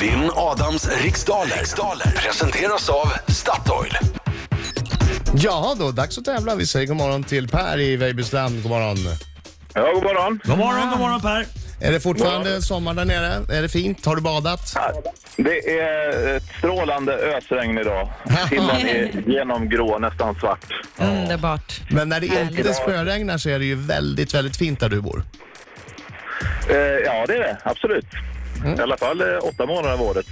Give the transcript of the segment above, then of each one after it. Vinn Adams riksdaler. riksdaler presenteras av Statoil. Jaha då, dags att tävla. Vi säger god morgon till Per i Vejbystrand. God morgon. Ja, god morgon. God morgon, god morgon Per. Är det fortfarande sommar där nere? Är det fint? Har du badat? Det är ett strålande ösregn idag. Himlen är genomgrå, nästan svart. Underbart. Men när det inte Härligt. spöregnar så är det ju väldigt, väldigt fint där du bor. Eh, ja, det är det. Absolut. I alla fall eh, åtta månader av året.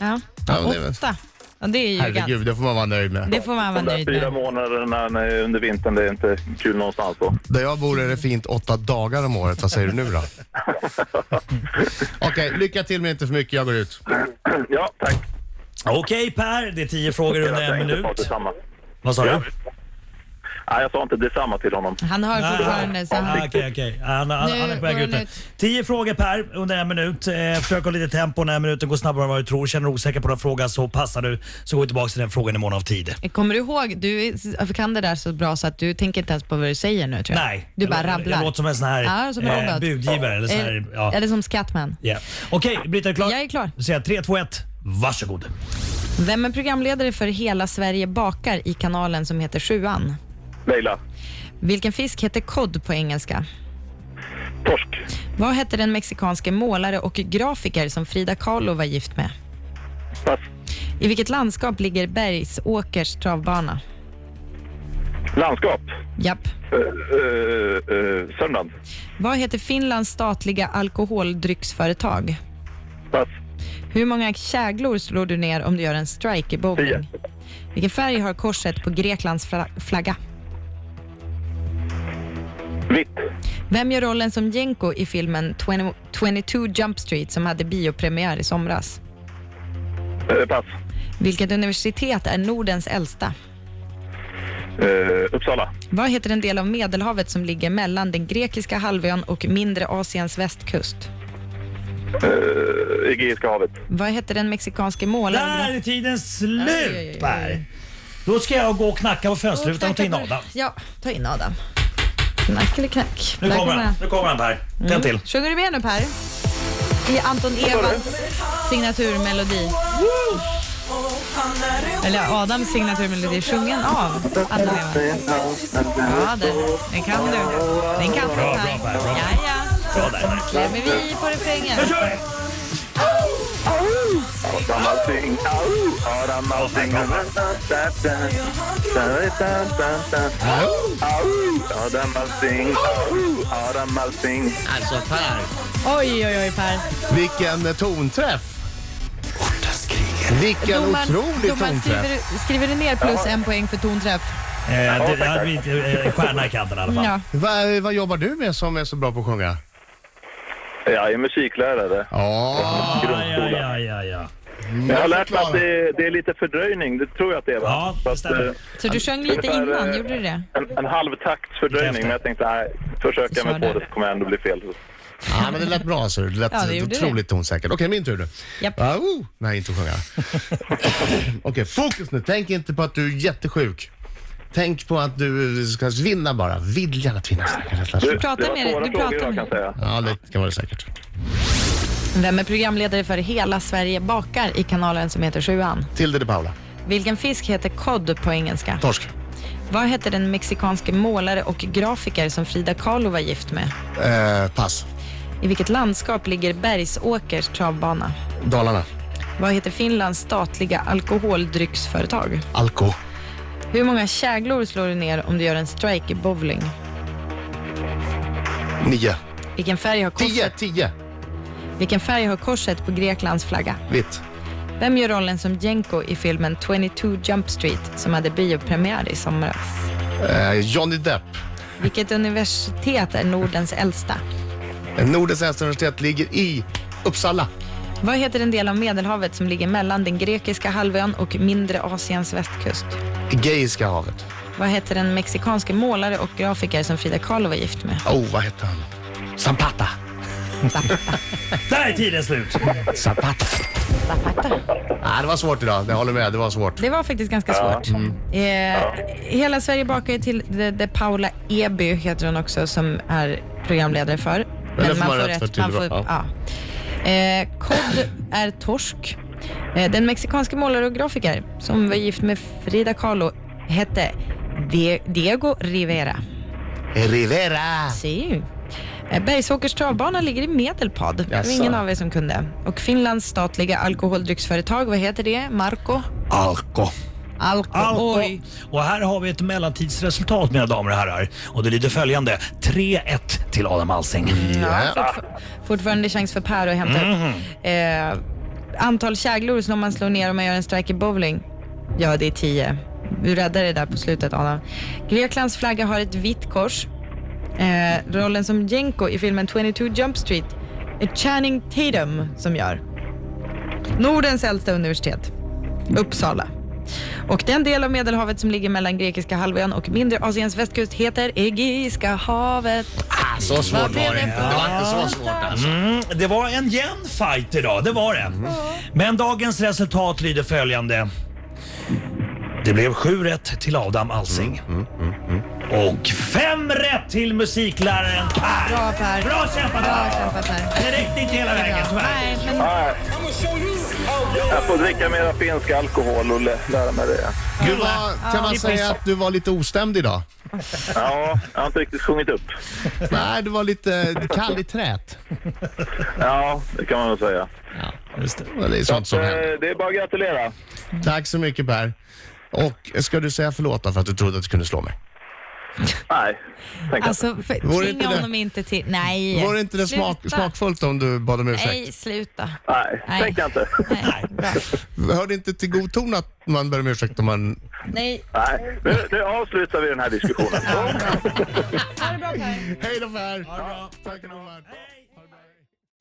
Ja. Ja, men det är väl- Åtta. Ja, det är ju ganska... Herregud, det får man vara nöjd med. Det får man vara De där nöjd fyra med. månaderna när- under vintern, det är inte kul någonstans då. Där jag bor är det fint åtta dagar om året. Vad säger du nu då? Okej, lycka till men inte för mycket. Jag går ut. ja, tack. Okej Per, det är tio frågor Jag under tänkte en ta minut. detsamma. Vad sa Ja. du? Nej, jag sa inte detsamma till honom. Han hör fortfarande så Ah, han... Okej, okej. Han, han, Nu han är på väg går ut han nu. ut. Tio frågor Per under en minut. Eh, försök ha lite tempo när minuten går snabbare än vad du tror. Känner du osäker på någon fråga så passar du så går vi tillbaka till den frågan i mån av tid. Kommer du ihåg, du är- kan det där så bra så att du tänker inte ens på vad du säger nu tror jag. Nej. Du jag bara låter- rabblar. Jag låter som en sån här eh, Ja, som en robot. budgivare. Eller, sån här, eller, ja. eller som Scatman. Ja. Okej, Britta är du klar? Jag är klar. Då säger jag 3, 2, 1. Varsågod. Vem är programledare för Hela Sverige bakar i kanalen som heter Sjuan? Leila, Vilken fisk heter cod på engelska? torsk. Vad hette den mexikanske målare och grafiker som Frida Kahlo var gift med? Pass. I vilket landskap ligger Bergsåkers travbana? Landskap. Japp. Eh, eh, eh, Sörmland. Vad heter Finlands statliga alkoholdrycksföretag? Pass. Hur många käglor slår du ner om du gör en strike i Tio. bowling? Vilken färg har korset på Greklands fla- flagga? Vitt. Vem gör rollen som Jenko i filmen 20, 22 Jump Street som hade biopremiär i somras? Eh, pass. Vilket universitet är Nordens äldsta? Eh, Uppsala. Vad heter den del av Medelhavet som ligger mellan den grekiska halvön och mindre Asiens västkust? Eh, Egeiska havet. Vad heter den mexikanske Där målaren? är Aj, tiden aj, aj, slut aj. Per. Då ska jag gå och knacka på fönsterrutan och ta in Adam. Ja, ta in Adam. Knack eller knack. Nu Där kommer han. Nu kommer han Per. Tänd till. Sjunger du med nu Per? I Anton Ewalds signaturmelodi. Eller Adams signaturmelodi, sjungen av Anton Ewald. Ja, det, den kan du. Den kan du Bra, Per. bra, bra, bra. Ja, ja. Bra där. Klämmer vi på refrängen. Nu kör vi! Adam Alsing. Au! Adam Alsing. Au! Adam Alsing. Au! Adam Alsing. Alltså Per, Oj, oj, oj Per. Vilken eh, tonträff! Ortens krigare. Vilken otrolig domaren tonträff! skriver, skriver du ner plus en poäng för tonträff? Eh, det, det hade blivit eh, stjärna i kanten i alla fall. Ja. Va, vad jobbar du med som är så bra på att sjunga? Jag är musiklärare. Ja, Ja, ja, ja, ja, ja. Jag har lärt mig att det, det är lite fördröjning. Det tror jag att det är, va? Ja, det Så att, stämmer. eh, Så du sjöng lite Ungefär, innan, eh, gjorde du det? En, en halv takts fördröjning, men jag tänkte nej, försöka mig på det så kommer jag ändå bli fel. ja, men det lät bra. Så det lät Ja, det gjorde otroligt tonsäkert. Okej, min tur nu. Japp. Ah, oh. Nej, inte att sjunga. Okej, fokus nu. Tänk inte på att du är jättesjuk. Tänk på att du ska vinna bara. Viljan att vinna. Du, pratar det var med dig. svåra Du frågor pratar idag, med kan jag säga. Ja, det kan vara det säkert. Vem är programledare för Hela Sverige bakar i kanalen som heter Sjuan? Tilde de Paula. Vilken fisk heter cod på engelska? Torsk. Vad heter den mexikanske målare och grafiker som Frida Kahlo var gift med? Eh, pass. I vilket landskap ligger Bergsåkers travbana? Dalarna. Vad heter Finlands statliga alkoholdrycksföretag? Alko. Hur många käglor slår du ner om du gör en strike i bowling? Nio. Vilken färg har korset, Tio. Tio. Vilken färg har korset på Greklands flagga? Vitt. Vem gör rollen som Jenko i filmen 22 Jump Street som hade biopremiär i somras? Eh, Johnny Depp. Vilket universitet är Nordens äldsta? Nordens äldsta universitet ligger i Uppsala. Vad heter den del av Medelhavet som ligger mellan den grekiska halvön och mindre Asiens västkust? Egeiska havet. Vad heter den mexikanske målare och grafiker som Frida Kahlo var gift med? Oh, vad heter han? Zampata. Där är tiden slut. Zapata. Ah, det var svårt idag. Jag håller med. Det var svårt. Det var faktiskt ganska svårt. Eh, hela Sverige bakar ju till det, det Paula Eby heter hon också som är programledare för. det får man rätt för till, man får, va? ja. Eh, Kod är torsk. Eh, den mexikanske målare och grafiker som var gift med Frida Kahlo hette Die- Diego Rivera. Rivera. Si. Eh, Bergsåkers travbana ligger i Medelpad. Det var Jaså. ingen av er som kunde. Och Finlands statliga alkoholdrycksföretag, vad heter det? Marko? Alko. Alko. Alko. Oj. Och här har vi ett mellantidsresultat mina damer och herrar. Och det lyder följande. 3-1 till Adam Alsing. Ja, fortfar- fortfarande chans för Per att hämta upp. Eh, antal käglor som man slår ner om man gör en strike i bowling. Ja, det är tio. Du räddade det där på slutet, Adam. Greklands flagga har ett vitt kors. Eh, rollen som Jenko i filmen 22 Jump Street är Channing Tatum som gör. Nordens äldsta universitet, Uppsala. Och den del av Medelhavet som ligger mellan Grekiska halvön och mindre Asiens västkust heter Egeiska havet. Så svårt var Vad det blev det inte. Det var inte så svårt alltså. Mm, det var en jämn fight idag, det var det. Men dagens resultat lyder följande. Det blev 7 rätt till Adam Alsing. Och 5 rätt till musikläraren Per. Bra, Per. Bra Bra kämpat Per. kämpat här. Det räckte inte hela vägen tyvärr. Nej, men Nej. Jag får dricka mera finsk alkohol och lä- lära mig det. Du var, kan man säga att du var lite ostämd idag? Ja, jag har inte riktigt sjungit upp. Nej, du var lite kall i trät. Ja, det kan man väl säga. Det är sånt som händer. Eh, Det är bara att gratulera. Tack så mycket Per. Och ska du säga förlåt då för att du trodde att du kunde slå mig? Nej, tänk alltså, alltså, för, Vore tvinga inte det- honom inte till... Nej. Var det inte det smak, Sluta. smakfullt om du bad om ursäkt? Nej, sluta. Nej, Nej. tänk inte. Nej, bra. Hör det inte till god ton att man ber om ursäkt om man... Nej. Nej, nu, nu avslutar vi den här diskussionen. Ha det bra Per. Hej då Per! bra. Tack Robert! Hej.